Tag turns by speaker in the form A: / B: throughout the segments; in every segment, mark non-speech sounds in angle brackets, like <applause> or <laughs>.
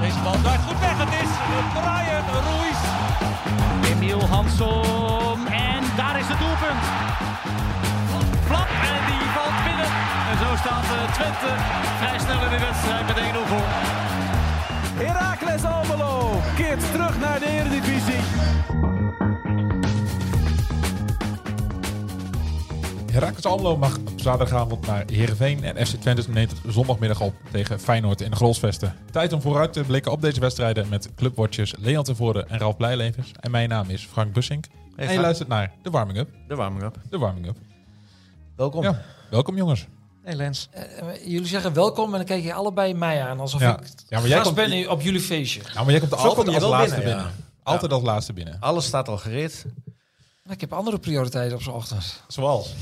A: Deze bal draait goed weg. Het is Brian Ruiz.
B: Emiel Hansom. En daar is het doelpunt. Flap en die valt binnen. En zo staat eh, Twente vrij snel in de wedstrijd met 1-0 voor.
A: Heracles Almelo keert terug naar de Eredivisie.
C: Heracles Almelo mag op zaterdagavond naar Heerenveen en FC Twente neemt het zondagmiddag op tegen Feyenoord in de Grolsvesten. Tijd om vooruit te blikken op deze wedstrijden met clubwatchers Leon Tevoorde en Ralf Blijlevens. En mijn naam is Frank Bussink. en je
D: Frank.
C: luistert naar de warming up.
D: De warming up.
C: De warming up.
D: Welkom.
C: Ja, welkom jongens.
D: Hey Lens.
E: Eh, jullie zeggen welkom en dan kijk je allebei mij aan alsof
C: Ja.
E: ik
C: Ja, maar
E: maar
C: jij
E: gast
C: komt-
E: ben nu op jullie feestje.
C: Nou, maar jij komt altijd
D: kom je
C: als
D: wel
C: laatste binnen.
D: binnen, Ah,
C: Altijd als laatste binnen.
D: Alles staat al gereed.
E: Maar ik heb andere prioriteiten op zo'n ochtend.
C: Zoals? Ah,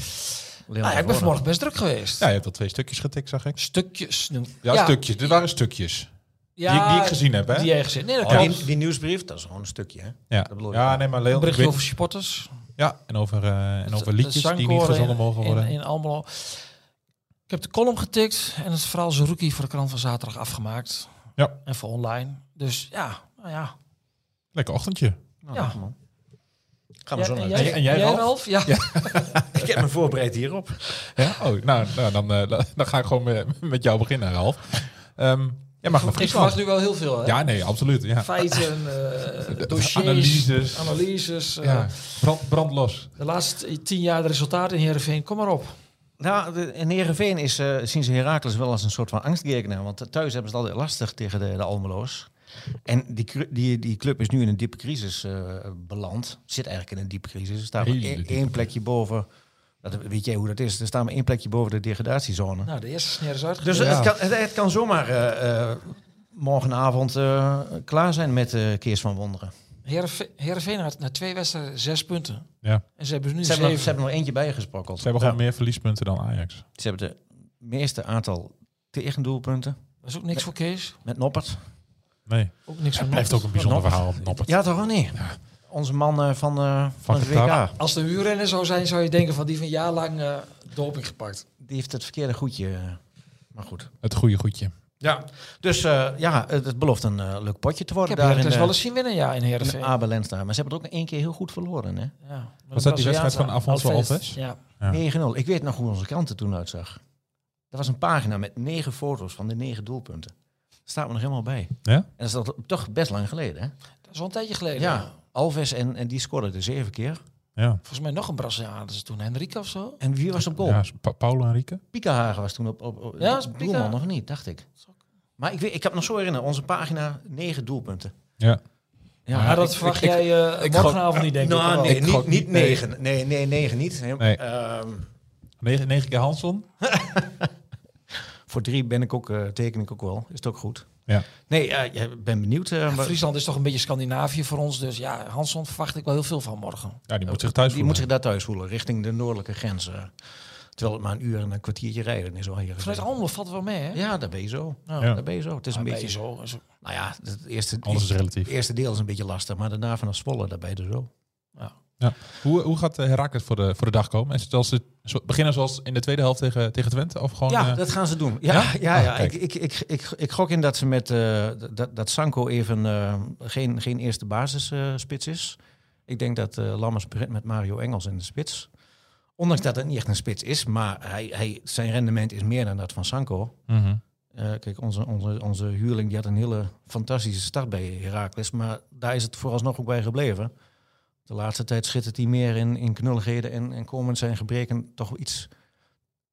D: Leon
E: Nou, ja, ik ben
D: Tevoren.
E: vanmorgen best druk geweest.
C: Ja, je hebt al twee stukjes getikt, zag ik.
E: Stukjes. noem-
C: Ja, stukjes. Dit waren stukjes.
E: Ja,
C: Die, ik- die ik gezien heb, hè?
E: Die jij gezien. Nee, dat
D: Oh,
E: klopt.
D: die, die nieuwsbrief, dat is gewoon een stukje. Hè?
C: ja.
D: dat bedoel ik.
C: ja, nee, maar Leon... ik
E: Berichten
C: weet-
E: over supporters.
C: ja, en over, eh, en over
E: De- de
C: liedjes die niet
E: zangkoren
C: gezongen
E: in-
C: mogen worden.
E: In, in Almelo. Ik heb de column getikt en het verhaal Zerouki voor de krant van zaterdag afgemaakt.
C: Ja.
E: En voor online. Dus ja, nou ja.
C: Lekker ochtendje.
D: Nou,
E: Ja.
D: lekker, man. Gaan we zo
E: Ja,
D: naar
E: jij-
C: En jij,
E: jij
C: Ralf?
E: Ralf? Ja.
D: Ik heb me voorbereid hierop.
C: Ja? Oh, nou, nou dan, eh, dan- <laughs> dan ga ik gewoon met, met jou beginnen, Ralf. Ehm jij mag naar
E: Ik verwacht
C: Friesland.
E: nu wel heel veel. Hè?
C: Ja, nee, absoluut. Ja.
E: Feiten, eh,
C: de
E: dossiers,
C: analyses.
E: analyses, eh,
C: Ja. Brand, brand los.
E: De laatste tien jaar de resultaten in Heerenveen, kom maar op.
D: Nou, de- in Heerenveen is, eh, zien ze Herakles wel als een soort van angstgekner. Want thuis hebben ze het altijd lastig tegen de, de Almeloos. En die, cru- die, die club is nu in een diepe crisis eh, beland. Zit eigenlijk in een diepe crisis. Er staat maar
C: Hele
D: één-
C: diepe
D: één plekje boven. Dat, weet jij hoe dat is? Er staat maar één plekje boven de degradatiezone.
E: Nou, de eerste sneer is uitgekomen.
D: Dus
C: Ja.
D: het, kan, het, het kan zomaar eh, eh, morgenavond eh, klaar zijn met eh Keers van Wonderen.
E: Heerenve- Heerenveen had na twee wedstrijden zes punten.
C: Ja.
E: En ze hebben er nu
D: Ze hebben,
E: zeven.
D: nog, ze hebben nog eentje bijgesprokkeld.
C: Ze hebben gewoon meer verliespunten dan Ajax.
D: Ze hebben de meeste aantal tegendoelpunten
E: Dat is ook niks voor Kees.
D: met Noppert.
C: Nee.
E: Ook niks voor
C: Het blijft ook een bijzonder verhaal. Noppert.
D: Ja, toch wel niet? Onze man eh, van, eh van het
C: Qatar.
D: WK.
E: Als de huurrenner zou zijn, zou je denken van die van jaar lang eh, doping gepakt.
D: Die heeft het verkeerde goedje. eh, Maar goed.
C: Het goede goedje.
D: Ja. Dus eh, ja, het, het belooft een eh, leuk potje te
E: Ik
D: worden
E: heb
D: daar in eh,
E: Heracles
D: de,
E: wel eens zien winnen, ja, in
D: in de
E: Heerenveen.
D: AB Lenstra. Maar ze hebben het ook één keer heel goed verloren. Hè?
E: Ja.
C: Was dat die wedstrijd van Afonso
E: Alves.
C: Alves?
E: Ja.
C: Ja.
D: 9-0. Ik weet nog hoe onze krant er toen uitzag. Dat was een pagina met negen foto's van de negen doelpunten. Dat staat me nog helemaal bij.
C: Ja?
D: En dat is dat toch best lang geleden, hè?
E: Dat is al een tijdje geleden.
D: Ja. Alves en, en die scoorde er zeven keer.
C: Ja.
E: Volgens mij nog een Braziliaan hadden ze toen. Henrique of zo.
D: En wie was op goal?
C: ja Pa- Paulo Henrique?
D: Piekenhagen was toen op, op, op
E: Ja, dat is
D: doelman,
E: Piekenhagen.
D: nog niet, dacht ik. Maar ik, weet, ik heb me nog zo herinneren. Onze pagina, negen doelpunten.
C: Ja.
D: Ja,
E: maar dat
D: ik-
E: verwacht
D: ik-
E: jij eh,
D: ik-
E: morgenavond niet, denk ik. Oh.
D: Nou,
E: wel.
D: nee,
C: Ik gok
D: niet, niet
C: nee.
D: negen. Nee, nee, negen niet. Heel-
C: Nee.
D: ehm,
C: Negen, negen keer Hanson.
D: voor drie ben ik ook, eh, teken ik ook wel. Is het ook goed?
C: Ja.
D: Nee, eh, ja, ik ben benieuwd. eh,
E: Ja,
D: wat-
E: Friesland is toch een beetje Scandinavië voor ons. Dus ja, Hanson verwacht ik wel heel veel van morgen.
C: Ja, die moet zich thuis
D: Die
C: voelen.
D: moet zich daar thuis voelen, richting de noordelijke grenzen. Terwijl het maar een uur en een kwartiertje rijden is al hier.
E: Vanuit Almelo valt wel mee, hè?
D: Ja, daar ben je zo.
E: Ja.
C: Ja.
D: Daar ben je zo. Het is een
E: Ah,
D: beetje
E: nee,
D: zo.
E: zo. zo.
D: Nou ja, het eerste,
C: Alles is
D: het
C: relatief.
D: eerste deel is een beetje lastig, maar daarna vanaf Zwolle, daar ben je er zo.
C: Ja. Hoe, hoe gaat eh, Heracles voor de, voor de dag komen? Is het als ze zo- beginnen zoals in de tweede helft tegen, tegen Twente? Of gewoon,
D: Ja,
C: eh,
D: dat gaan ze doen. Ja,
C: Ja?
D: ja? ja,
C: Ah, kijk.
D: ik, ik, ik, ik, ik gok in dat ze met eh, dat, dat Sanko even eh, geen, geen eerste basisspits is. Ik denk dat eh Lammers begint met Mario Engels in de spits. Ondanks dat het niet echt een spits is, maar hij, hij, zijn rendement is meer dan dat van Sanko.
C: mhm.
D: Eh, kijk, onze, onze, onze huurling die had een hele fantastische start bij Heracles. Maar daar is het vooralsnog ook bij gebleven. De laatste tijd schittert hij meer in, in knulligheden en, en komen zijn gebreken toch iets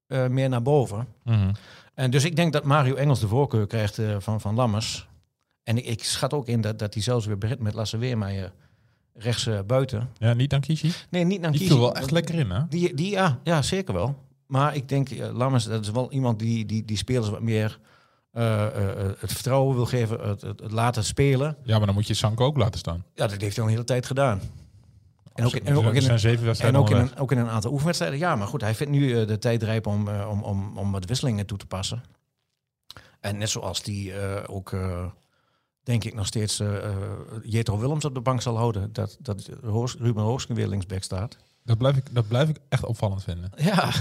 D: eh, meer naar boven.
C: Mhm.
D: En dus ik denk dat Mario Engels de voorkeur krijgt eh, van, van Lammers. En ik, ik schat ook in dat, dat hij zelfs weer begint met Lasse Weermeijer rechts eh, buiten.
C: Ja, niet dan Kishi.
D: Nee, niet naar
C: Die
D: Kiezen.
C: viel wel echt lekker in, hè?
D: Die, die, ja, ja, zeker wel. Maar ik denk, eh, Lammers, dat is wel iemand die, die, die spelers wat meer eh, eh, eh, het vertrouwen wil geven, het, het, het laten spelen.
C: Ja, maar dan moet je Sanko ook laten staan.
D: Ja, dat heeft hij al een hele tijd gedaan. En ook, in- en
C: Er
D: ook
C: zijn- er
D: in
C: zijn
D: een,
C: zeven
D: en
C: wedstrijden eh,
D: ook in,
C: onderweg.
D: een, ook in een aantal oefenwedstrijden. Ja, maar goed, hij vindt nu eh, de tijd rijp om, eh, om, om, om wat wisselingen toe te passen. En net zoals die eh, ook, eh, denk ik, nog steeds eh eh, Jetro Willems op de bank zal houden. Dat, dat Roos- Ruben Hoosken weer linksback staat.
C: Dat blijf, ik, dat blijf ik echt opvallend vinden.
D: Ja,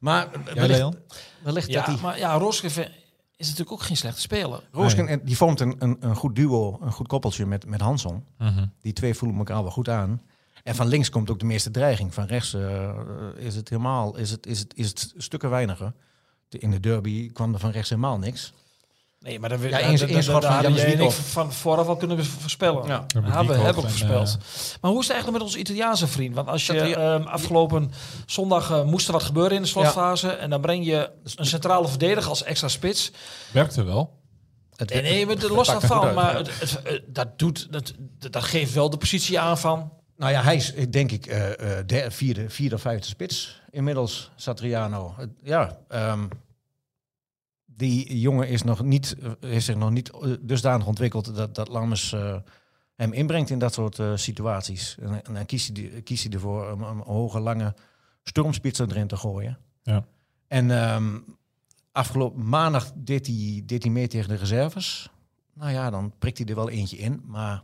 D: maar
C: Jij,
D: wellicht,
C: Leon?
D: wellicht dat
E: Ja,
D: hij...
E: maar ja, Roske vind- is natuurlijk ook geen slechte speler.
D: Roosken, en die vormt een, een, een goed duo, een goed koppeltje met, met Hanson.
C: Mhm.
D: Die twee voelen elkaar wel goed aan. En van links komt ook de meeste dreiging. Van rechts eh, is het helemaal, is het, is het, is het stukken weiniger. De- In de derby kwam er van rechts helemaal niks.
E: Nee, maar dat
D: Ja, eens- eens schot van Jan
E: je
D: Zwierhoff.
E: van vooraf al kunnen we voorspellen.
D: Ja.
C: Ja, met
E: Ja, we
C: Wiekoop
E: hebben ook
C: en, eh,
E: voorspeld. Maar hoe is het eigenlijk met onze Italiaanse vriend? Want als je
D: Dat die-
E: ehm, afgelopen zondag eh, moest er wat gebeuren in de slotfase. En dan breng je een centrale verdediger als extra spits.
C: Werkte wel.
D: Het,
E: En nee, maar los daarvan. Maar het, het- eh, dat, doet, dat, dat geeft wel de positie aan van.
D: nou ja, hij is eh, denk ik eh, eh, derde, vierde, vierde of vijfde spits. Inmiddels Satriano. Het- ja, ehm, die jongen is, nog niet, eh, heeft zich nog niet eh, dusdanig ontwikkeld dat, dat Lammers eh, hem inbrengt in dat soort eh, situaties. En, en dan kiest hij, die- kiest hij ervoor om om een hoge, lange stormspits erin te gooien.
C: Ja.
D: En ehm, afgelopen maandag deed hij, deed hij mee tegen de reserves. Nou ja, dan prikt hij er wel eentje in, maar...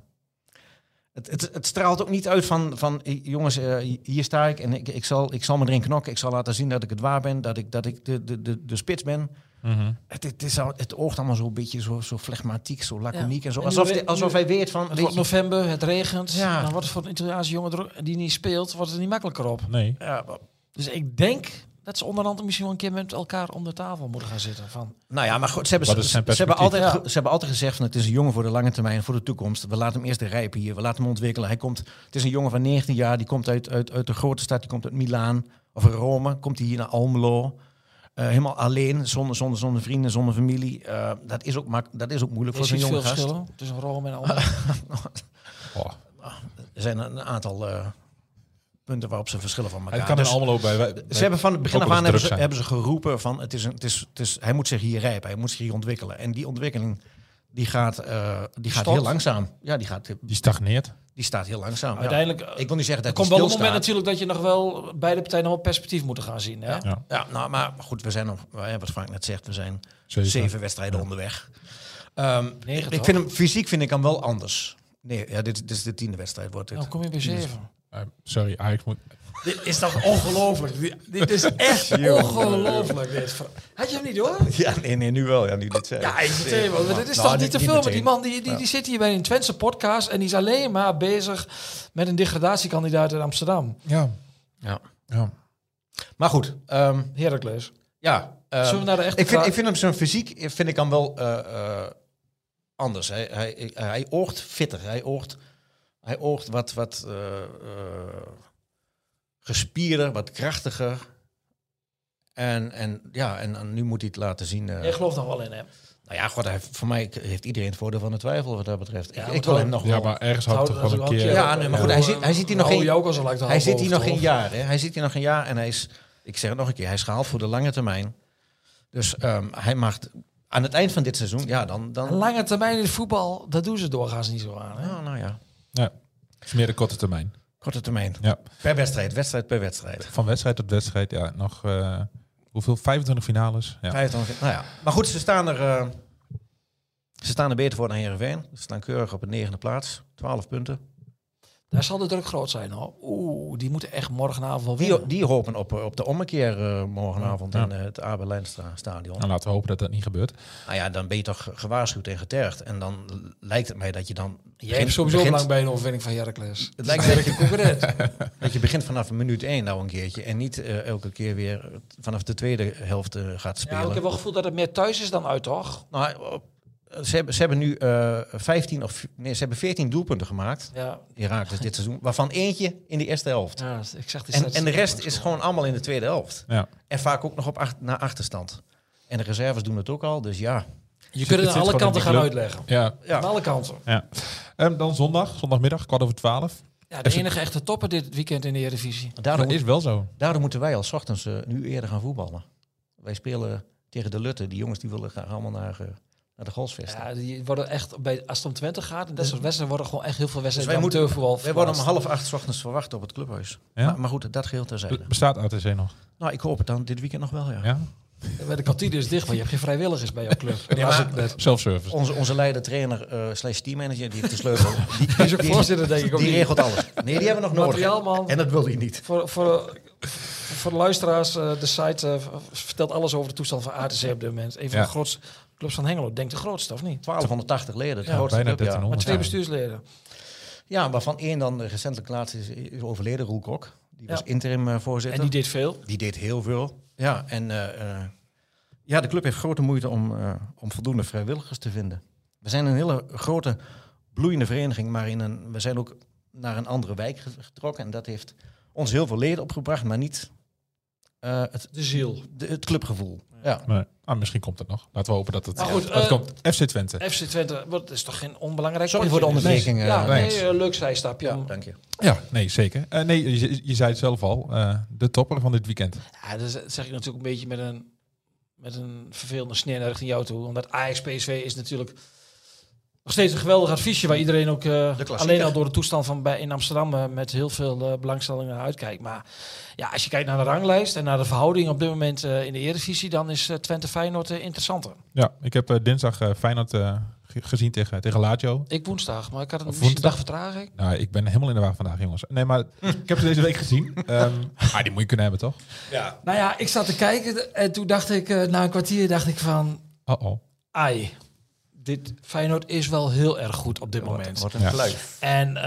D: Het, het, het straalt ook niet uit van, van eh, jongens, eh, hier sta ik en ik, ik, zal, ik zal me erin knokken. Ik zal laten zien dat ik het waar ben, dat ik, dat ik de, de, de, de spits ben.
C: Mhm.
D: Het, het, is al, het oogt allemaal zo'n beetje zo, zo flegmatiek, zo laconiek en zo.
E: En
D: Alsof,
E: nu-
D: de- alsof hij weet van...
E: Het
D: weet
E: wordt
D: je-
E: november, het regent.
D: Ja.
E: En Dan wordt het voor een Italiaanse jongen er- die niet speelt, wordt het niet makkelijker op.
C: Nee.
D: Ja, maar-
E: Dus ik denk dat ze onderhand misschien wel een keer met elkaar om de tafel moeten gaan zitten. Van,
D: nou ja, maar goed, ze hebben,
C: Wat
D: ze,
C: is zijn
D: ze hebben altijd,
E: perspectief?
D: ge- ze hebben altijd gezegd van het is een jongen voor de lange termijn, voor de toekomst. We laten hem eerst rijpen hier, we laten hem ontwikkelen. Hij komt, het is een jongen van 19 jaar, die komt uit, uit, uit de grote stad, die komt uit Milaan of Rome. Komt hij hier naar Almelo. Eh, helemaal alleen, zonder, zonder, zonder vrienden, zonder familie. Eh, dat, is ook mak- dat is ook moeilijk
E: er
D: voor
E: is
D: zo'n
E: niet veel
D: jonge gast.
E: verschil tussen Rome en
D: <laughs>
E: Almere.
C: Oh.
D: Er zijn een aantal eh, punten waarop ze verschillen van elkaar.
C: Het kan in
D: Dus-
C: Almelo bij. wij-
D: Ze hebben van het begin af
C: Ook wel
D: aan
C: eens
D: hebben
C: druk
D: ze,
C: zijn.
D: hebben ze geroepen van het is een, het is, het is, hij moet zich hier rijpen, hij moet zich hier ontwikkelen. En die ontwikkeling die gaat, eh, die gaat
E: Stopt.
D: heel langzaam. Ja, die, gaat,
C: Die stagneert.
D: die staat heel langzaam. ja.
E: Uiteindelijk eh,
D: Ik wil niet zeggen dat
E: komt
D: die
E: wel een moment
D: stilstaat.
E: natuurlijk dat je nog wel beide partijen nog wel perspectief moeten gaan zien. Hè?
C: Ja.
D: Ja, nou, maar goed, we zijn nog, eh, wat Frank net zegt, we zijn
C: Zeven.
D: zeven, wedstrijden onderweg. Ehm,
E: Negen,
D: ik
E: toch?
D: vind hem, fysiek vind ik hem wel anders. Nee, ja, dit, dit is de tiende wedstrijd wordt dit.
E: Dan Oh, kom je bij zeven.
C: Eh, sorry, Ajax moet.
E: Dit is toch ongelooflijk? Dit- Dit is
D: <laughs>
E: echt ongelooflijk. dit. Had je hem niet door?
D: Ja, nee, nee, nu wel. Ja, nu dit zegt.
E: Ja, ik meteen, want dit is
D: Nou,
E: toch
D: niet-
E: niet te
D: niet
E: filmen.
D: meteen.
E: Die man die, die, die zit hier bij een Twentse podcast en die is alleen maar bezig met een degradatiekandidaat in Amsterdam.
C: Ja.
D: Ja.
C: ja.
D: Maar goed, ehm,
E: Heracles.
D: Ja, eh,
E: Zullen we naar de echte
D: ik, vind,
E: vraag-
D: ik vind hem zijn fysiek eh, vind ik hem wel eh, eh, anders. Hij, hij, hij- hij oogt fitter. Hij oogt, hij oogt wat, wat eh, eh, gespierder, wat krachtiger. En, en, ja, en, en nu moet hij het laten zien. eh.
E: Jij gelooft nog wel in hem.
D: nou ja, god, hij, heeft- voor mij heeft iedereen het voordeel van de twijfel wat dat betreft.
E: Ja,
D: ik,
E: maar
D: ik wil
E: toch-
D: hem nog
C: Ja,
D: wel.
C: maar ergens had het toch wel een keer.
D: Ja, nee, maar goed, hij zit- hij zit hier nog
E: in.
D: geen-
E: ook al zo lang te
D: Hij
E: houden
D: zit hier nog
E: boven,
D: geen
E: toch?
D: jaar. Hè? Hij zit hier nog geen jaar en hij is, ik zeg het nog een keer, hij is gehaald voor de lange termijn. Dus ehm, hij mag d- aan het eind van dit seizoen, ja, dan. dan
E: Een Lange termijn in het voetbal, dat doen ze doorgaans niet zo aan. Hè?
D: nou, nou ja,
C: Ja. Het is meer de korte termijn.
D: korte termijn.
C: Ja.
D: Per wedstrijd, wedstrijd per wedstrijd.
C: Van wedstrijd tot wedstrijd. Ja, nog. eh, hoeveel? 25 finales. Ja.
D: 25, nou ja. Maar goed, ze staan er, eh, ze staan er beter voor dan Herenveen. Ze staan keurig op de negende plaats, 12 punten.
E: Daar zal de druk groot zijn. Hoor. Oeh, die moeten echt morgenavond wel winnen.
D: Die, die hopen op, eh, op de ommekeer eh, morgenavond
C: Ja.
D: in eh, het AB Leinstra stadion.
C: Nou, laten we hopen dat dat niet gebeurt.
D: Nou ja, dan ben je toch gewaarschuwd en getergd. En dan lijkt het mij dat je dan...
E: Jij hebt sowieso lang bij een overwinning van
D: <laughs>
E: Heracles.
D: Het lijkt me dat je concurrent. dat je begint vanaf minuut één nou een keertje. En niet eh, elke keer weer vanaf de tweede helft eh, gaat
E: Ja, ik
D: spelen.
E: heb wel gevoeld dat het meer thuis is dan uit, toch?
D: nou, op- ze, hebben, ze hebben nu eh 15 of nee, ze hebben 14 doelpunten gemaakt.
E: Ja,
D: Herakles dit seizoen. Waarvan eentje in de eerste helft.
E: ja ik zeg die
D: En, en de
E: statistieken
D: rest
E: ook
D: is
E: zo.
D: gewoon allemaal in de tweede helft.
C: Ja.
D: En vaak ook nog op ach- naar achterstand. En de reserves doen het ook al. Dus ja.
E: Je kunt het
C: zit
E: aan alle
C: gewoon in
E: kanten
C: die
E: gaan
C: club.
E: uitleggen.
C: Ja.
D: Ja.
E: Aan alle kanten.
C: ja. En Ehm, dan zondag, zondagmiddag, kwart over twaalf.
E: Ja, de
C: Even-
E: enige echte topper dit weekend in de Eredivisie.
D: Daardoor,
C: Dat is wel zo.
D: daardoor moeten wij als ochtends eh, nu eerder gaan voetballen. Wij spelen tegen de Lutten. Die jongens die willen graag allemaal naar eh, naar de goalsvesten.
E: Ja, die worden echt, bij, als het om Twente gaat, en dat soort wedstrijden worden gewoon echt heel veel
D: Dus
E: wedstrijden.
D: wij, moeten,
E: amateurvoetbal
D: wij worden om
E: verplaatst.
D: half acht 's ochtends verwacht op het clubhuis.
C: Ja?
D: Maar, maar goed, dat geheel terzijde.
C: B- Bestaat ATC nog?
D: Nou, ik hoop het dan dit weekend nog wel, ja.
C: Ja?
E: Bij de kantine is dicht, want je hebt geen vrijwilligers bij jouw
D: <laughs>
E: club.
D: Nee,
E: Dat was
D: maar-
E: het net.
C: Self-service.
D: Onze, onze leider, trainer, eh slash teammanager, die heeft de sleutel. Die,
E: <laughs> Die is ook voorzitter, denk ik. ook
D: die
E: niet.
D: regelt alles. Nee, die hebben we nog nodig.
E: Materiaalman.
D: En dat wil hij niet.
E: Voor, voor, voor de luisteraars, eh, de site eh, vertelt alles over de toestand van ATC op dit moment. Een van
C: Ja.
E: de grootste clubs van Hengelo, denk de grootste, of
D: Oh,
E: niet?
D: 1280 leden, het
C: Ja,
D: grootste
C: bijna
D: club, ja.
C: 1300.
E: Maar twee
C: Ja.
E: bestuursleden.
D: Ja, waarvan één dan eh, recentelijk laatst is, is overleden, Roel Kok. Die
E: Ja.
D: was interim eh, voorzitter.
E: En die deed veel.
D: Die deed heel veel. Ja, en eh, eh, ja, de club heeft grote moeite om, eh, om voldoende vrijwilligers te vinden. We zijn een hele grote, bloeiende vereniging, maar in een, we zijn ook naar een andere wijk ge- getrokken. En dat heeft ons heel veel leden opgebracht, maar niet eh, het,
E: De ziel.
D: de- het clubgevoel. Ja.
C: Maar, ah, misschien komt het nog. Laten we hopen dat het,
E: Maar goed,
C: dat het
E: eh,
C: komt. FC Twente.
E: FC Twente, wat is toch geen onbelangrijk
D: Sorry voor de
E: potje?
D: onderbreking. eh,
E: Ja,
C: Wijnands.
E: nee, eh, leuk zijstapje.
D: ja,
E: Ja.
D: dank je.
C: Ja, nee, zeker. Eh, nee, je, je zei het zelf al. eh, de topper van dit weekend.
E: Ja, dat zeg ik natuurlijk een beetje met een, met een vervelende sneer naar richting jou toe. Omdat Ajax PSV is natuurlijk nog steeds een geweldig adviesje waar iedereen ook eh,
D: klassieker.
E: alleen al door de toestand van bij in Amsterdam eh, met heel veel eh, belangstelling naar uitkijkt. Maar ja, als je kijkt naar de ranglijst en naar de verhouding op dit moment eh, in de Eredivisie, dan is eh, Twente Feyenoord eh, interessanter.
C: Ja, ik heb eh, dinsdag eh, Feyenoord eh, ge- gezien tegen, tegen Lazio.
E: Ik woensdag, maar ik had een,
C: Of
E: misschien een dag
C: woensdag?
E: vertraging.
C: Nou, ik ben helemaal in de war vandaag, jongens. Nee, maar ik heb ze deze week gezien. Ehm, ah, die moet je kunnen hebben, toch?
E: Nou ja, ik zat te kijken en toen dacht ik, eh, na een kwartier dacht ik van,
C: Oh-oh.
E: ai, dit Feyenoord is wel heel erg goed op dit moment.
D: Wordt een
C: Ja.
D: kluif.
E: En eh,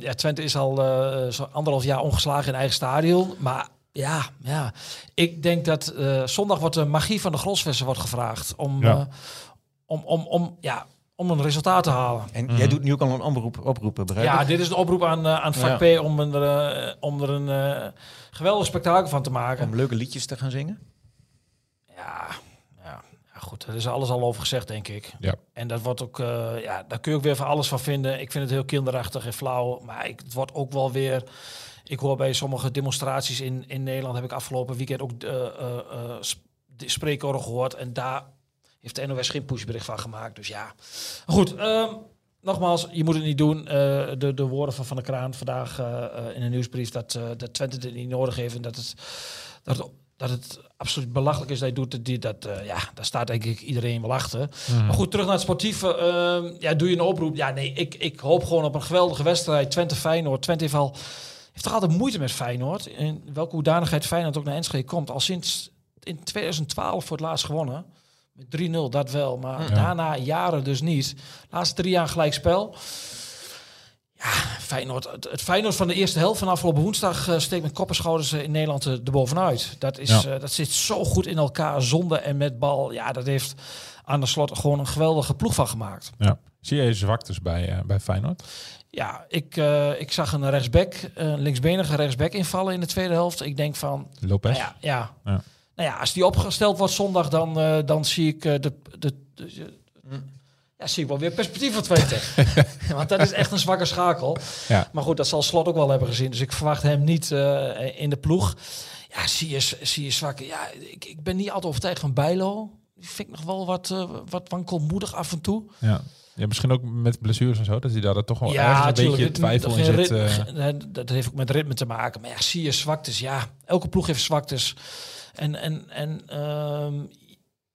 E: ja, Twente is al eh, zo'n anderhalf jaar ongeslagen in eigen stadion. Maar ja, ja. ik denk dat eh, zondag wordt de magie van de grosvesten wordt gevraagd. Om,
C: Ja.
E: eh, om, om, om, ja, om een resultaat te halen.
D: En jij doet nu ook al een oproep, oproepen, begrijp ik?
E: Ja, dit is een oproep aan, eh, aan vak P om er, eh, om er een eh, geweldig spektakel van te maken.
D: Om leuke liedjes te gaan zingen.
E: Ja, ja, ja, goed. Er is alles al over gezegd, denk ik.
C: Ja.
E: En dat wordt ook, eh, ja, daar kun je ook weer van alles van vinden. Ik vind het heel kinderachtig en flauw. Maar ik, het wordt ook wel weer. Ik hoor bij sommige demonstraties in, in Nederland, heb ik afgelopen weekend ook eh, eh, eh, sp- de spreekoren gehoord. En daar heeft de NOS geen pushbericht van gemaakt. Dus ja, goed. ehm, nogmaals, je moet het niet doen. Eh, de, de woorden van Van der Kraan vandaag eh, eh, in de nieuwsbrief dat, eh, dat Twente dit niet nodig heeft. En dat het, dat het, dat het absoluut belachelijk is dat hij doet. Die, dat, eh, ja, daar staat denk ik iedereen wel achter. Maar goed, terug naar het sportieve. ehm, ja, doe je een oproep? Ja, nee, ik, ik hoop gewoon op een geweldige wedstrijd. Twente-Feyenoord. Twente heeft al... Heeft toch altijd moeite met Feyenoord? In welke hoedanigheid Feyenoord ook naar Enschede komt. Al sinds in 2012 voor het laatst gewonnen. Met 3-0, dat wel. Maar
C: Ja.
E: daarna jaren dus niet. Laatste drie jaar gelijk spel. Ja, Feyenoord, het, het Feyenoord van de eerste helft van afgelopen woensdag eh, steekt met kop en schouders eh, in Nederland eh, erbovenuit. Dat, is,
C: Ja.
E: eh, dat zit zo goed in elkaar, zonde en met bal. Ja, dat heeft aan de slot gewoon een geweldige ploeg van gemaakt.
C: Ja. Zie je zwaktes bij, eh, bij Feyenoord?
E: Ja, ik, eh, ik zag een rechtsback, een linksbenige rechtsback invallen in de tweede helft. Ik denk van,
C: Lopez?
E: nou ja, ja.
C: Ja.
E: Nou ja, als die opgesteld wordt zondag, dan, eh, dan zie ik eh, de... de, de- eh, ja, zie ik wel weer perspectief voor Twente.
C: <laughs>
E: Want dat is echt een zwakke schakel.
C: Ja.
E: Maar goed, dat zal Slot ook wel hebben gezien. Dus ik verwacht hem niet eh, in de ploeg. Ja, zie je, zie je zwak. Ja, ik, ik ben niet altijd overtuigd van Bijlo. Die vind ik nog wel wat, eh, wat wankelmoedig af en toe.
C: Ja. ja. Misschien ook met blessures en zo, dat hij daar dan toch wel Oh, ergens
E: Ja,
C: een
E: natuurlijk.
C: beetje twijfel in zit. eh.
E: Dat heeft ook met ritme te maken. Maar ja, zie je zwaktes. Ja, elke ploeg heeft zwaktes. En, en, en ehm,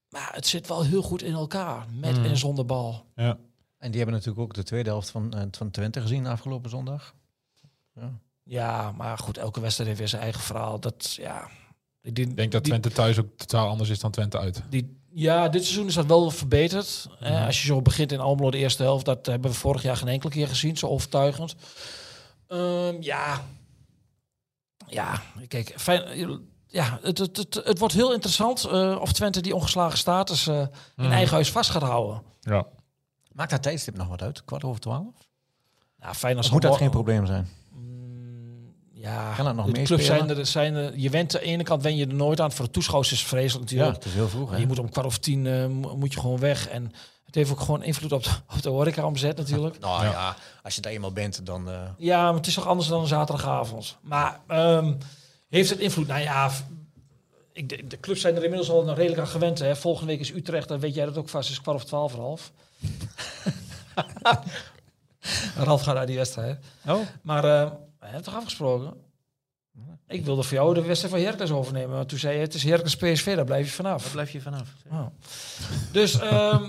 E: maar het zit wel heel goed in elkaar.
C: Hmm.
E: Met en zonder bal.
C: ja.
D: En die hebben natuurlijk ook de tweede helft van, eh, van Twente gezien afgelopen zondag.
E: Ja, maar goed, elke wedstrijd heeft weer zijn eigen verhaal. Dat, ja. Die-
C: Ik denk dat
E: die-
C: Twente thuis ook totaal anders is dan Twente uit.
E: Die, ja, dit seizoen is dat wel verbeterd. Eh,
D: Mhm.
E: als je zo begint in Almelo de eerste helft, dat hebben we vorig jaar geen enkele keer gezien, zo overtuigend. Ehm, ja. Ja, kijk, fijn, ja, het, het, het, het wordt heel interessant eh, of Twente die ongeslagen status eh,
D: Mhm.
E: in eigen huis vast gaat houden.
C: Ja.
D: Maakt dat tijdstip nog wat uit? Kwart over twaalf?
E: Nou, fijn als Mm,
D: Moet dat geen probleem zijn?
E: Ja,
D: Kan dat nog
E: de
D: meespelen?
E: Ah, clubs zijn er, zijn er, je went aan de ene kant wen je er nooit aan. Voor de toeschouwers is het vreselijk natuurlijk.
D: is heel vroeg.
E: Je moet om kwart over tien eh, mo- moet je gewoon weg. En het heeft ook gewoon invloed op de, <laughs> op de horecaomzet natuurlijk.
D: Nou
C: Ja.
D: ja. als je daar eenmaal bent, dan... eh,
E: Ja, maar het is toch anders dan een zaterdagavond. Maar ehm, heeft het invloed? Nou ja, v- ik, de, de clubs zijn er inmiddels al nog redelijk aan gewend. Hè. Volgende week is Utrecht, dan weet jij dat ook vast. is kwart of twaalf voor half. Ralf gaat naar die wedstrijd.
D: Oh,
E: Maar eh we hebben toch afgesproken? Ik wilde voor jou de wedstrijd van Herkens overnemen. Maar toen zei je, het is Herkens PSV, daar blijf je vanaf.
D: blijf je vanaf.
E: Oh. <laughs> Dus ehm,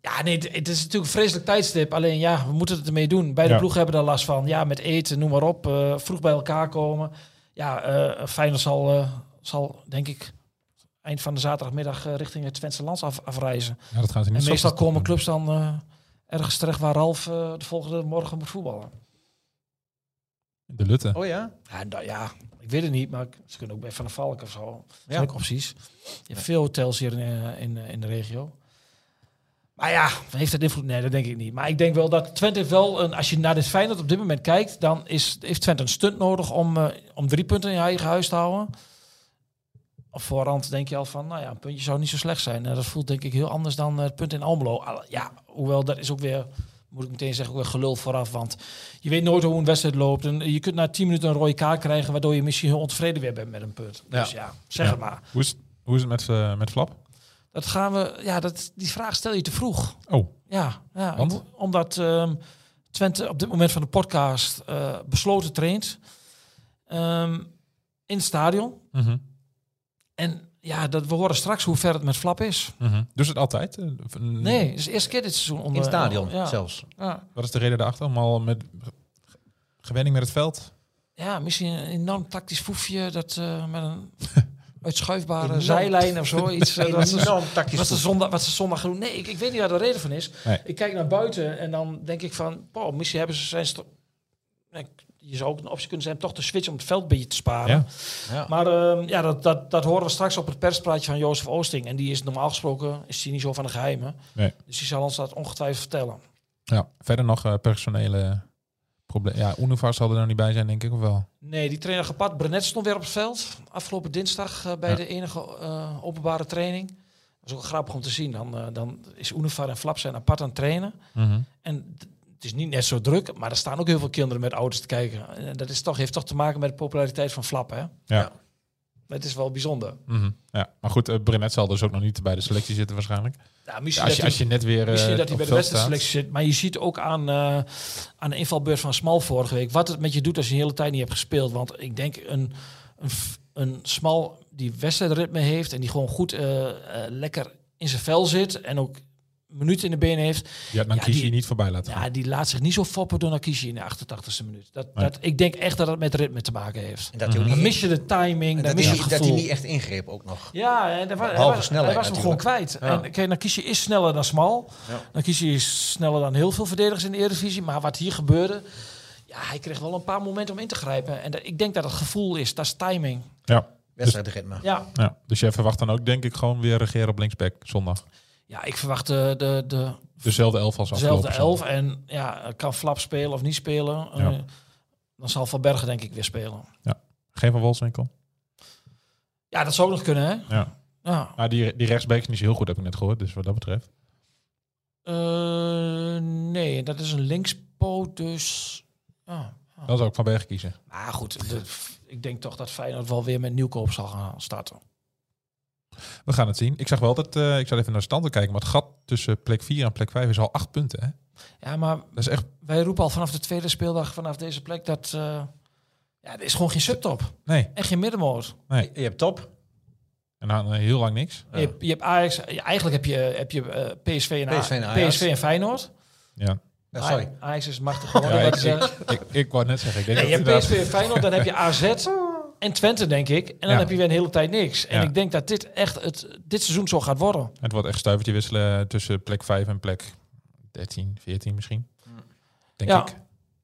E: ja, nee, het- het is natuurlijk een vreselijk tijdstip. Alleen ja, we moeten het ermee doen. Beide
C: Ja.
E: ploegen hebben daar last van. Ja, met eten, noem maar op. eh, vroeg bij elkaar komen. Ja, eh Feyenoord zal, eh, zal, denk ik, eind van de zaterdagmiddag eh, richting het Twentse lands af- afreizen.
C: Ja, dat gaan ze niet
E: En
C: zo
E: meestal
C: snel
E: komen
C: doen.
E: clubs dan eh, ergens terecht waar Ralf eh, de volgende morgen moet voetballen.
C: De Lutte.
D: Oh ja?
E: Ja, en da- ja, ik weet het niet, maar ik- ze kunnen ook bij Van der Valk of zo.
D: Ja.
E: Ja. Ook opties. Je hebt veel hotels hier in, eh, in, eh, in de regio. Maar ja, heeft dat invloed? Nee, dat denk ik niet. Maar ik denk wel dat Twente heeft wel een... Als je naar dit Feyenoord op dit moment kijkt... dan is, heeft Twente een stunt nodig om, eh, om drie punten in je eigen huis te houden. Op voorhand denk je al van... Nou ja, een puntje zou niet zo slecht zijn. Eh, dat voelt denk ik heel anders dan eh, het punt in Almelo. Al- Ja, hoewel dat is ook weer... Moet ik meteen zeggen, ook weer gelul vooraf. Want je weet nooit hoe een wedstrijd loopt. En eh, je kunt na 10 minuten een rode kaart krijgen... waardoor je misschien heel ontevreden weer bent met een punt. Dus ja, zeg
C: Ja.
E: het maar.
C: Hoe is, hoe is het met, eh, met Flap?
E: Dat gaan we, ja, dat, die vraag stel je te vroeg.
C: Oh,
E: Ja, ja
C: Want?
E: om- omdat ehm, Twente op dit moment van de podcast eh, besloten traint ehm, in het stadion.
C: mhm,
E: En ja, dat, we horen straks hoe ver het met Flap is.
C: mhm. doen ze het altijd? Eh, v- n-
E: Nee, het is de eerste keer dit seizoen. Onder,
D: Hmm. In het stadion
E: eh, ja,
D: zelfs.
E: Ja,
C: Wat is de reden daarachter? Allemaal met ge- gewenning met het veld?
E: ja, misschien een enorm tactisch foefje dat eh, met
D: <laughs>
E: een uitschuifbare
D: Enorm.
E: zijlijn of
D: <laughs>
E: zoiets. eh, dat is-
D: tactisch.
E: Wat ze, zondag, wat ze zondag gaan doen. Nee, ik, ik weet niet waar de reden van is.
C: Nee.
E: Ik kijk naar buiten en dan denk ik van... Paul, misschien hebben ze zijn... sto- Nee, Je zou ook een optie kunnen zijn om toch te switchen om het veld een beetje te sparen.
C: Ja.
D: Ja.
E: Maar ehm, ja, dat, dat, dat horen we straks op het perspraatje van Jozef Oosting. En die is normaal gesproken is die niet zo van de geheimen.
C: Nee.
E: Dus die zal ons dat ongetwijfeld vertellen.
C: Ja, verder nog eh, personele problemen. Ja, Univars zal er nou niet bij zijn, denk ik, of wel?
E: Nee, die trainer gepad. Brenet stond weer op het veld. Afgelopen dinsdag eh, bij
C: Ja.
E: de enige eh, openbare training. Dat is ook grappig om te zien. Dan, eh, dan is Univar en Flap zijn apart aan het trainen.
C: Mhm.
E: En d- het is niet net zo druk, maar er staan ook heel veel kinderen met ouders te kijken. En dat is toch, heeft toch te maken met de populariteit van Flap, hè?
C: Ja.
E: Ja. Het is wel bijzonder.
C: Mhm. ja. Maar goed, eh Brenet zal dus ook nog niet bij de selectie zitten waarschijnlijk.
E: Nou,
C: Ja,
E: misschien
C: als, je,
E: dat,
C: als je net weer... eh,
E: hij- misschien dat hij
C: op
E: bij de
C: het veld staat.
E: wedstrijdselectie zit. Maar je ziet ook aan, eh, aan de invalbeurt van Smal vorige week... wat het met je doet als je de hele tijd niet hebt gespeeld. Want ik denk een, een, f- een Smal die wedstrijdritme heeft... en die gewoon goed eh, eh, lekker in zijn vel zit... en ook minuten in de benen heeft...
C: Ja, dan
E: Ja,
C: kies je
E: die-
C: niet voorbij laten gaan.
E: Ja, die laat zich niet zo foppen door Nakishi in de 88e minuut. Dat,
C: Nee.
E: dat, ik denk echt dat het met ritme te maken heeft.
D: En dat hij ook
E: Dan
D: niet-
E: Mhm. mis je de timing, dan
D: en dat
E: mis
D: hij
E: je het
D: niet- dat hij
E: gevoel.
D: niet echt ingreep ook nog.
E: ja, en daar wa- hij
D: Behalve
E: was,
D: snelheid
E: hij was hem gewoon kwijt.
D: Ja.
E: En kijk, Nakishi is sneller dan Smal.
D: Ja.
E: Nakishi is sneller dan heel veel verdedigers in de Eredivisie. Maar wat hier gebeurde, ja, hij kreeg wel een paar momenten om in te grijpen. En dat- ik denk dat het gevoel is, dat is timing.
C: Ja.
D: Wedstrijdritme.
E: Ja,
C: ja. Dus jij verwacht dan ook, denk ik, gewoon weer regeren op linksback zondag.
E: ja ik verwacht eh, de, de,
C: Dezelfde elf als afgelopen
E: dezelfde elf. En ja, kan Flap spelen of niet spelen.
C: Ja.
E: Eh, dan zal Van Bergen denk ik weer spelen.
C: zondag. Geen van Wolfswinkel?
E: Ja, dat zou ook nog kunnen, hè?
C: Ja.
E: Ja.
C: Maar die, die rechtsback is niet zo heel goed, heb ik net gehoord. Dus wat dat betreft.
E: Eh, nee, dat is een linkspoot, dus... Ja.
C: Dan zou ik Van Bergen kiezen.
E: Maar goed, de- ik denk toch dat Feyenoord wel weer met nieuwkoop zal gaan starten.
C: We gaan het zien. Ik zag wel dat... eh, ik zat even naar de standen kijken. Maar het gat tussen plek 4 en plek 5 is al 8 punten. Hè?
E: Ja, maar
C: Dat is echt...
E: wij roepen al vanaf de tweede speeldag, vanaf deze plek, dat... eh, ja, er is gewoon geen subtop
C: Nee.
E: en geen middenmoot.
C: Nee.
D: Je hebt top.
C: En dan eh, heel lang niks.
E: Je, hebt, je hebt Ajax, ja, eigenlijk heb je, heb je eh, PSV, en A-
D: PSV en Ajax.
E: PSV en Feyenoord.
C: Ja.
D: Ja, sorry.
E: A- Ajax is machtig geworden.
C: Ja,
E: dat
C: ik-
E: is, eh,
C: Ik, ik wou net zeggen. Ik denk
E: Nee, je
C: dat
E: hebt PSV
C: inderdaad-
E: en Feyenoord, dan heb je AZ en Twente, denk ik. En dan
C: Ja.
E: heb je weer een hele tijd niks. En
C: Ja.
E: ik denk dat dit echt het, dit seizoen zo gaat worden.
C: Het wordt echt stuivertje wisselen tussen plek 5 en plek 13, 14 misschien. Denk
E: Mm. Ja.
C: ik.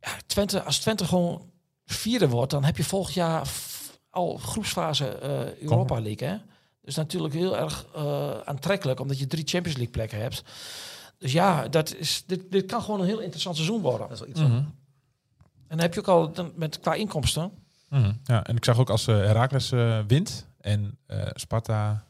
E: Ja, Twente, als Twente gewoon vierde wordt, dan heb je volgend jaar f- al groepsfase eh, Europa League. Hè? Dus natuurlijk heel erg eh, aantrekkelijk, omdat je drie Champions League plekken hebt. Dus ja, dat is, dit, dit kan gewoon een heel interessant seizoen worden.
D: Dat
E: En
D: is wel iets wat-
E: dan heb je ook al dan met, qua inkomsten.
C: Mhm, Ja, en ik zag ook als eh Herakles wint en eh, Sparta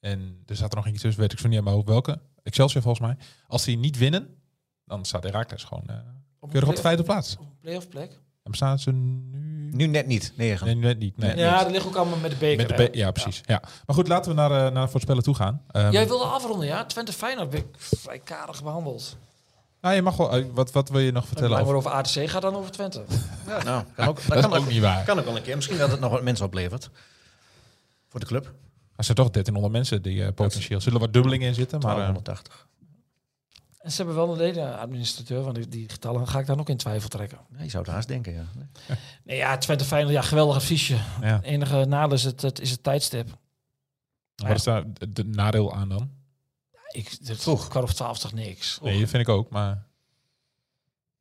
C: en er zat er nog eentje tussen, weet ik zo niet helemaal welke. Excelsior volgens mij. Als die niet winnen, dan staat Herakles gewoon eh,
E: Op
C: keurig op de vijfde plaats.
E: op een playoff plek.
C: En bestaan ze nu?
D: Nu net niet, negen.
C: Nee, net niet. Nee,
E: ja,
C: net.
E: dat ligt ook allemaal met de beker.
C: Met de
E: hè?
C: P- ja, precies. Ja. Maar goed, laten we naar, eh, naar voorspellen toe gaan. Ehm,
E: Jij wilde afronden, ja? Twente Feyenoord ben ik vrij karig behandeld.
C: nou, je mag wel, eh, wat, wat wil je nog vertellen?
E: Maar
C: over-
E: over ATC gaat dan over Twente.
D: Nou, kan ook,
C: dat is
D: kan
C: ook niet waar.
D: Kan ook wel een keer. Misschien dat het nog wat mensen oplevert. Voor de club.
C: Er zijn toch 1300 mensen die eh, potentieel zullen wat dubbelingen in zitten. Maar, eh,
D: 180.
E: En ze hebben wel een ledenadministrateur, want die, die getallen ga ik dan ook in twijfel trekken.
D: Ja, je zou het haast denken, ja.
E: Nee, ja, Twente Feyenoord, ja, geweldig adviesje.
C: eh, ja.
E: Het enige nadeel is het, het, is het tijdstip.
C: Wat is daar de- de nadeel aan dan?
E: Ik, het Vroeg. kwart of twaalf toch niks.
C: Nee, dat vind ik ook, maar...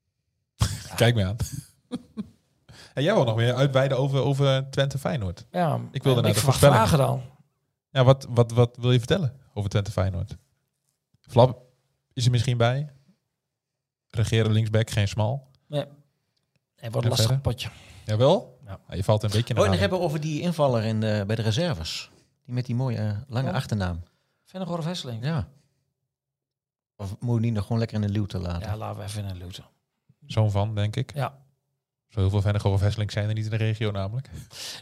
C: <laughs> Kijk me aan. en jij wil nog meer uitweiden over, over Twente Feyenoord.
E: Ja, en
C: Ik wilde naar
E: ik
C: de
E: verwacht
C: voorspelling.
E: vragen dan.
C: Ja, wat, wat, wat wil je vertellen over Twente Feyenoord? Flap is er misschien bij. Regeren linksback, geen smal.
E: Het wordt
C: En
E: een lastig
C: verder?
E: potje.
C: Jawel?
E: Ja.
C: Nou, je valt een beetje
D: Oh,
C: naar
D: en
C: adem.
D: nog hebben we over die invaller in de, bij de reserves. Die met die mooie eh, lange
E: Ja.
D: achternaam.
E: Vennegor of Hesseling?
D: Ja. Of moet je die nog gewoon lekker in de luwte laten?
E: Ja, laten we even in Luton.
C: Zoon van, denk ik.
E: Ja.
C: Zo heel veel Vennegoor of Hesseling zijn er niet in de regio namelijk.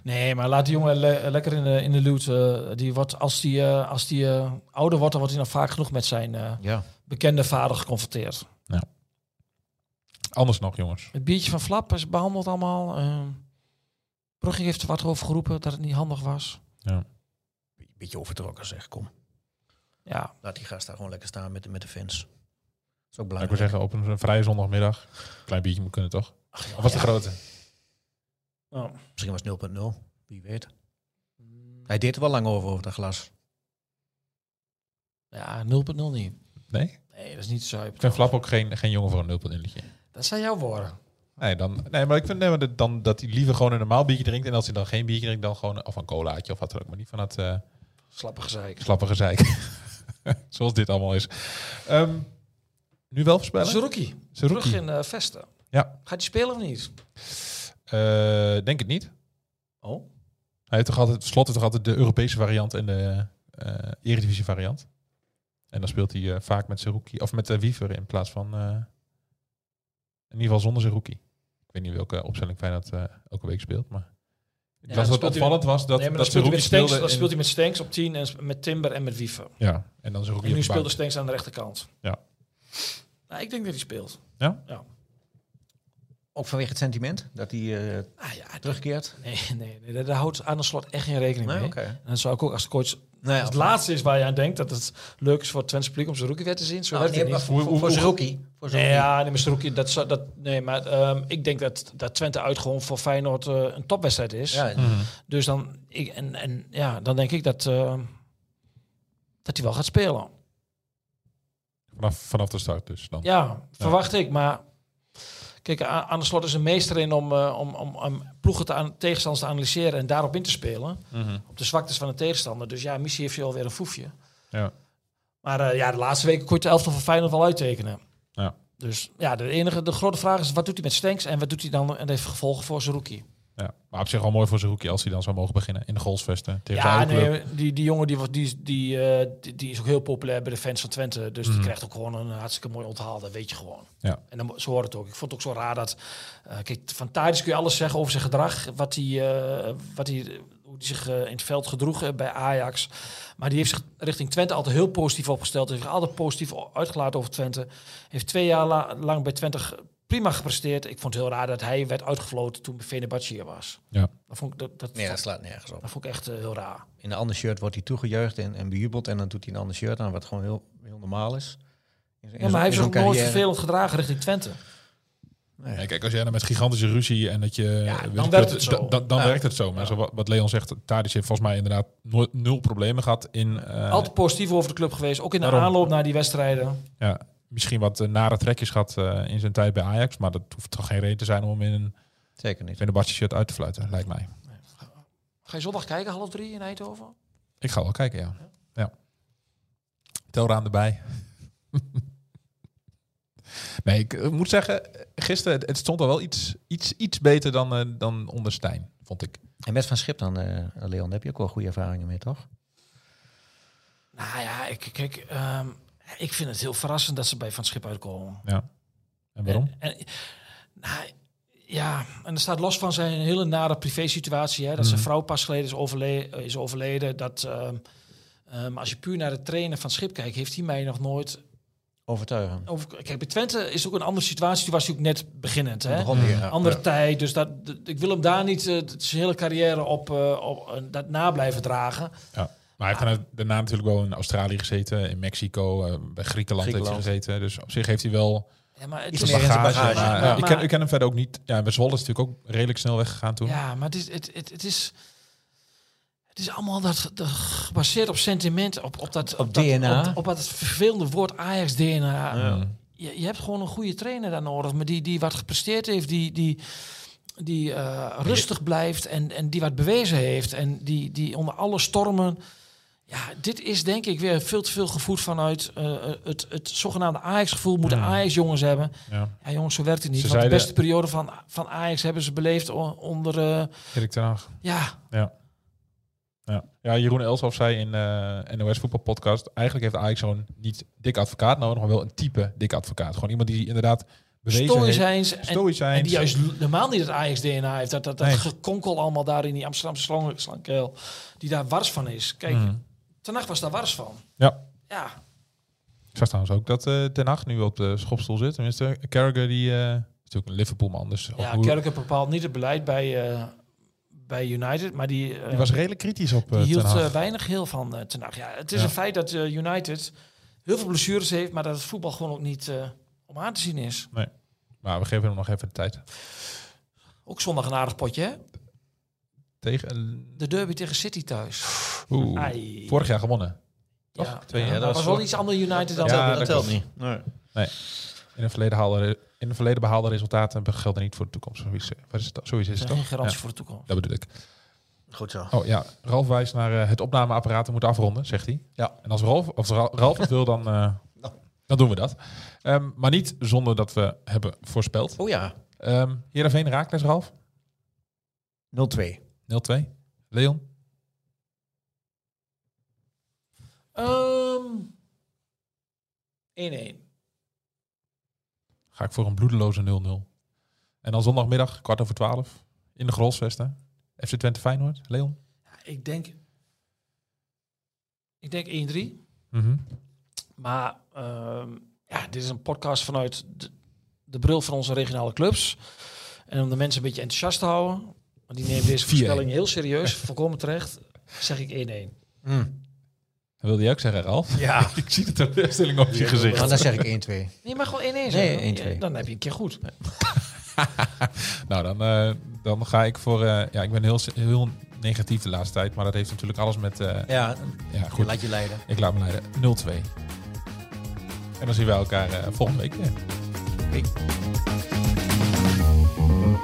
E: Nee, maar laat die jongen le- lekker in de, in de loot. eh, die wordt, als die, eh, als die eh, ouder wordt, dan wordt hij nog vaak genoeg met zijn eh,
D: Ja.
E: bekende vader geconfronteerd.
C: Anders nog, jongens.
E: Het biertje van Flap is behandeld allemaal. eh Brugge heeft er wat over geroepen dat het niet handig was.
D: Beetje overtrokken zeg, kom.
E: Ja,
D: Laat die gast daar gewoon lekker staan met, de- met de fans. Dat is ook
C: Nou, ik
D: belangrijk.
C: wil zeggen, op een vrije zondagmiddag. Klein biertje moet kunnen, toch? Of was de grote? Oh.
E: nou,
D: Misschien was het 0.0. Wie weet. Hij deed er wel lang over, over dat glas.
E: ja 0.0 niet.
C: Nee?
E: Nee, dat is niet zuip.
C: Ik vind Flap ook geen, geen jongen voor een nulpuntilletje.
E: Dat zijn jouw woorden.
C: Nee, dan, nee, maar ik vind nee, maar dat- dan, dat hij liever gewoon een normaal biertje drinkt. En als hij dan geen biertje drinkt, dan gewoon... Of een colaatje of wat dan ook. Maar niet van dat eh
E: Slappe gezeik.
C: slappe gezeik. <laughs> Zoals dit allemaal is. Ehm, nu wel voorspellen?
E: Zerouki, terug
C: Zerouki.
E: in eh, Vesten.
C: Ja.
E: Gaat hij spelen of niet?
C: Eh, denk het niet.
E: Oh.
C: Hij heeft toch altijd, slot heeft toch altijd de Europese variant en de eh Eredivisie variant. En dan speelt hij eh, vaak met Zerouki of met eh, Wiever in plaats van eh, in ieder geval zonder Zerouki. Ik weet niet welke opstelling Feyenoord eh elke week speelt, maar ik
E: Ja, dan
C: las dat
E: speelt
C: het
E: hij-
C: opvallend was dat
E: nee, maar dan
C: dat
E: speelt hij
C: Zerouki
E: met Stenks,
C: speelde.
E: dan
C: in-
E: speelt hij met Stenks op 10 en s- met Timber en met Wiever.
C: Ja, en dan Zerouki
E: En
C: op
E: nu
C: de
E: speelde
C: bank.
E: Stenks aan de rechterkant.
C: Ja.
E: Nou, ik denk dat hij speelt.
D: Ook vanwege het sentiment dat hij eh,
E: Ah ja, dat-
D: terugkeert.
E: nee, nee, nee, daar- daar houdt aan de slot echt geen rekening mee.
D: oké.
E: En dan zou ik ook als coach...
D: Nou ja,
E: Als Dus het laatste is waar je aan denkt dat het leuk is voor het Twents publiek om Zerouki weer te zien. Zo
D: Nou,
E: werkt
D: nee,
E: het
D: maar
E: niet.
D: voor, voor, voor Zerouki.
E: Nee,
D: Voor Zerouki.
E: ja, nee, maar Zerouki, dat, zou- dat, nee, maar ehm, ik denk dat, dat Twente uit gewoon voor Feyenoord eh, een topwedstrijd is.
D: Ja,
C: Mhm.
E: Dus dan, ik, en, en, ja, dan denk ik dat, eh, dat hij wel gaat spelen.
C: Vanaf, vanaf de start dus dan.
E: Ja, verwacht ik. Maar kijk, A- aan de slot is een meester in om, eh, om, om, om ploegen te aan, tegenstanders te analyseren en daarop in te spelen.
C: Mhm.
E: Op de zwaktes van de tegenstander. Dus ja, missie heeft je alweer een foefje.
C: Ja.
E: Maar eh, ja, de laatste weken kon je de elftal van Feyenoord wel uittekenen.
C: Ja.
E: Dus ja, de enige, de grote vraag is, wat doet hij met Stenks en wat doet hij dan en heeft gevolgen voor zijn rookie?
C: Ja. Maar op zich wel mooi voor Zerouki als hij dan zou mogen beginnen in de goalsvesten tegen zijn
E: Ja,
C: oude club.
E: nee, die, die jongen die, was- die, die, eh, die, die is ook heel populair bij de fans van Twente. Dus die krijgt ook gewoon een hartstikke mooi onthaal. Dat weet je gewoon.
C: Mhm. Ja.
E: En dan, zo hoort het ook. Ik vond het ook zo raar dat... eh, kijk, van Thadis kun je alles zeggen over zijn gedrag. Wat hij, eh, wat hij, hoe hij zich eh, in het veld gedroeg eh, bij Ajax. Maar die heeft zich richting Twente altijd heel positief opgesteld. Heeft zich altijd positief o- uitgelaten over Twente. Heeft twee jaar la- lang bij Twente ge- prima gepresteerd. Ik vond het heel raar dat hij werd uitgefloten toen Fenerbahce hier was.
C: Ja.
E: Dat vond ik, dat, dat,
D: Nee, dat
E: vond,
D: slaat nergens op.
E: dat vond ik echt eh, heel raar.
D: In een ander shirt wordt hij toegejuicht en, en bejubeld. En dan doet hij een ander shirt aan, wat gewoon heel, heel normaal is. In- in
E: Ja,
D: zo'n-
E: maar hij
D: in
E: heeft zich
D: zo'n
E: ook nooit
D: carrière.
E: vervelend gedragen richting Twente.
C: Ja, kijk, als jij dan met gigantische ruzie en dat je... weet
E: dan
C: ik
E: werkt
C: veel,
E: het
C: da-
E: zo.
C: da- dan
D: Ja.
C: werkt het zo. Maar zo wat, wat Leon zegt, Tadic heeft volgens mij inderdaad nooit nul problemen gehad in... eh,
E: Altijd positief over de club geweest. Ook in de
C: Daarom.
E: aanloop naar die wedstrijden.
C: ja, misschien wat eh, nare trekjes gehad eh, in zijn tijd bij Ajax. Maar dat hoeft toch geen reden te zijn om in een
D: Zeker niet.
C: Fenerbahce shirt uit te fluiten, lijkt mij.
E: Ga je zondag kijken, half drie in Eindhoven?
C: Ik ga wel kijken, ja. ja. Telraam erbij. <laughs> nee, ik eh, moet zeggen, eh, gisteren het- het stond al wel iets, iets, iets beter dan, eh, dan onder Stijn, vond ik.
D: En met Van Schip dan, eh, Leon, daar heb je ook wel goede ervaringen mee, toch?
E: Nou ja, ik, kijk, ehm, ik vind het heel verrassend dat ze bij Van Schip uitkomen.
C: Ja. En waarom?
E: En, en- nou, ja, en dat staat los van zijn hele nare privé-situatie. Hè, dat zijn vrouw pas geleden is, overle- eh, is overleden. Dat, ehm, ehm, als je puur naar het trainen van Schip kijkt, heeft hij mij nog nooit...
D: Overtuigen.
E: Over... Kijk, bij Twente is ook een andere situatie. Toen was hij ook net beginnend. Hè?
D: Begon weer, ja.
E: Andere
D: Ja.
E: tijd. Dus dat, dat- ik wil hem daar niet eh, d- zijn hele carrière op, eh, op eh, dat na blijven dragen.
C: Ja. Maar
E: Ah.
C: hij heeft daarna- daarna natuurlijk wel in Australië gezeten, in Mexico, eh, bij Griekenland, heeft
D: Griekenland.
C: hij gezeten. Dus op zich heeft hij wel
E: Ja, maar het
D: Iets
E: is-
D: meer in zijn
C: bagage.
D: bagage.
C: maar,
E: Maar-
C: ja, ik, ken,
E: maar-
C: ik ken hem verder ook niet. Ja, bij Zwolle is natuurlijk ook redelijk snel weggegaan toen.
E: Ja, maar het is, het, het, het is, het is allemaal dat, dat gebaseerd op sentiment, op, op dat...
D: Op
E: dat-
D: DNA.
E: Op, op dat vervelende woord Ajax-DNA.
C: Ja.
E: Je, je hebt gewoon een goede trainer daar nodig, maar die, die wat gepresteerd heeft, die... die die eh, rustig blijft en, en die wat bewezen heeft. En die, die onder alle stormen... Ja, dit is denk ik weer veel te veel gevoed vanuit eh, het, het zogenaamde Ajax-gevoel. Moeten Ajax-jongens hebben.
C: Ja.
E: Ja, jongens, zo werkt het niet.
C: Ze
E: want de
C: zeiden-
E: beste periode van, van Ajax hebben ze beleefd o- onder... eh,
C: Erik ten Hag.
E: ja,
C: Ja. ja, Jeroen Elshoff zei in eh NOS Voetbal Podcast... eigenlijk heeft Ajax zo'n niet dik advocaat nodig... maar wel een type dik advocaat. Gewoon iemand die inderdaad bewezen heeft...
E: stoïcijns. En,
C: Stoïcijns.
E: en die juist l- helemaal niet het Ajax-DNA heeft. Dat, dat, dat
C: Nee.
E: gekonkel allemaal daar in die Amsterdamse slang- slangkuil. Die daar wars van is. Kijk,
C: Mhm.
E: Ten Hag was daar wars van.
C: Ja.
E: Ja,
C: Ik zag trouwens ook dat eh Ten Hag nu op de schopstoel zit. Tenminste, Carragher die... eh is natuurlijk een Liverpoolman, dus...
E: ja
C: hoe-
E: Kerken bepaalt niet het beleid bij, eh, bij United. Maar die, eh,
C: die was redelijk kritisch op
E: die
C: eh,
E: hield
C: Ten Hag.
E: eh, weinig heel van eh, Ten Hag. Ja, het is
C: Ja.
E: een feit dat eh, United heel veel blessures heeft. Maar dat het voetbal gewoon ook niet eh, om aan te zien is.
C: Maar we geven hem nog even de tijd.
E: Ook zondag een aardig potje, hè?
C: Tegen... eh,
E: De derby tegen City thuis.
C: Oeh,
E: Ai.
C: vorig jaar gewonnen. Toch?
E: Ja,
C: Twee-
E: ja,
C: ja,
E: dat was, wel iets ander United dan
C: Ja,
E: dat-
C: dat dat telt klopt.
D: niet. Nee.
C: In het verleden, haalde, in het verleden behaalde resultaten gelden niet voor de toekomst. Zoiets, wat is het, zoiets is het
E: Geen
C: toch?
E: garantie
C: Ja,
E: voor de toekomst.
C: dat bedoel ik.
D: Goed zo.
C: Oh ja, Ralf wijst naar eh, het opnameapparaat en moet afronden, zegt hij.
D: Ja.
C: En als Ralf, als Ra- Ralf het wil, dan, <laughs> eh, dan doen we dat. Ehm, maar niet zonder dat we hebben voorspeld.
D: Oh ja,
C: Ehm Heerenveen Raakles, Ralf.
D: 0-2.
C: 0-2. Leon.
E: Ehm 1-1.
C: Ga ik voor een bloedeloze 0-0. En dan zondagmiddag, kwart over twaalf, in de Grolsvesten. FC Twente Feyenoord. Leon.
E: Ik denk... Ik denk 1-3.
C: Mhm.
E: Maar ehm, ja, dit is een podcast vanuit de, de bril van onze regionale clubs. En om de mensen een beetje enthousiast te houden... want die nemen deze
C: 4-1.
E: voorspelling heel
C: <laughs>
E: serieus, volkomen terecht... zeg ik 1-1.
C: Hm. Dat wilde jij ook zeggen, Ralf? <laughs>
D: Ja.
C: Ik zie de teleurstelling op je gezicht.
D: Oh, dan zeg ik 1-2.
E: Nee, maar gewoon 1-1
D: Nee,
E: zeggen.
D: 1-2.
E: Dan heb je een keer goed.
C: Nou, dan, eh, dan ga ik voor... eh, ja, ik ben heel, heel negatief de laatste tijd. Maar dat heeft natuurlijk alles met... eh,
D: Ja,
C: ja, goed.
D: laat je leiden.
C: Ik laat me leiden. 0-2. En dan zien we elkaar eh, volgende week weer.